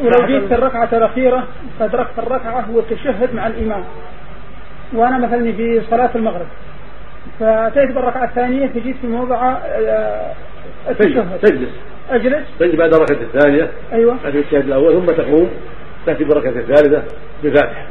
ولو جئت الركعة الأخيرة فأدركت الركعة والتشهد مع الإمام وأنا مثلا في صلاة المغرب فأتيت بالركعة الثانية فجيت في موضع آه، تجلس التشهد تجلس أجلس تجلس بعد الركعة الثانية أيوه بعد الشهاد الأول ثم تقوم تأتي بالركعة الثالثة بفاتحة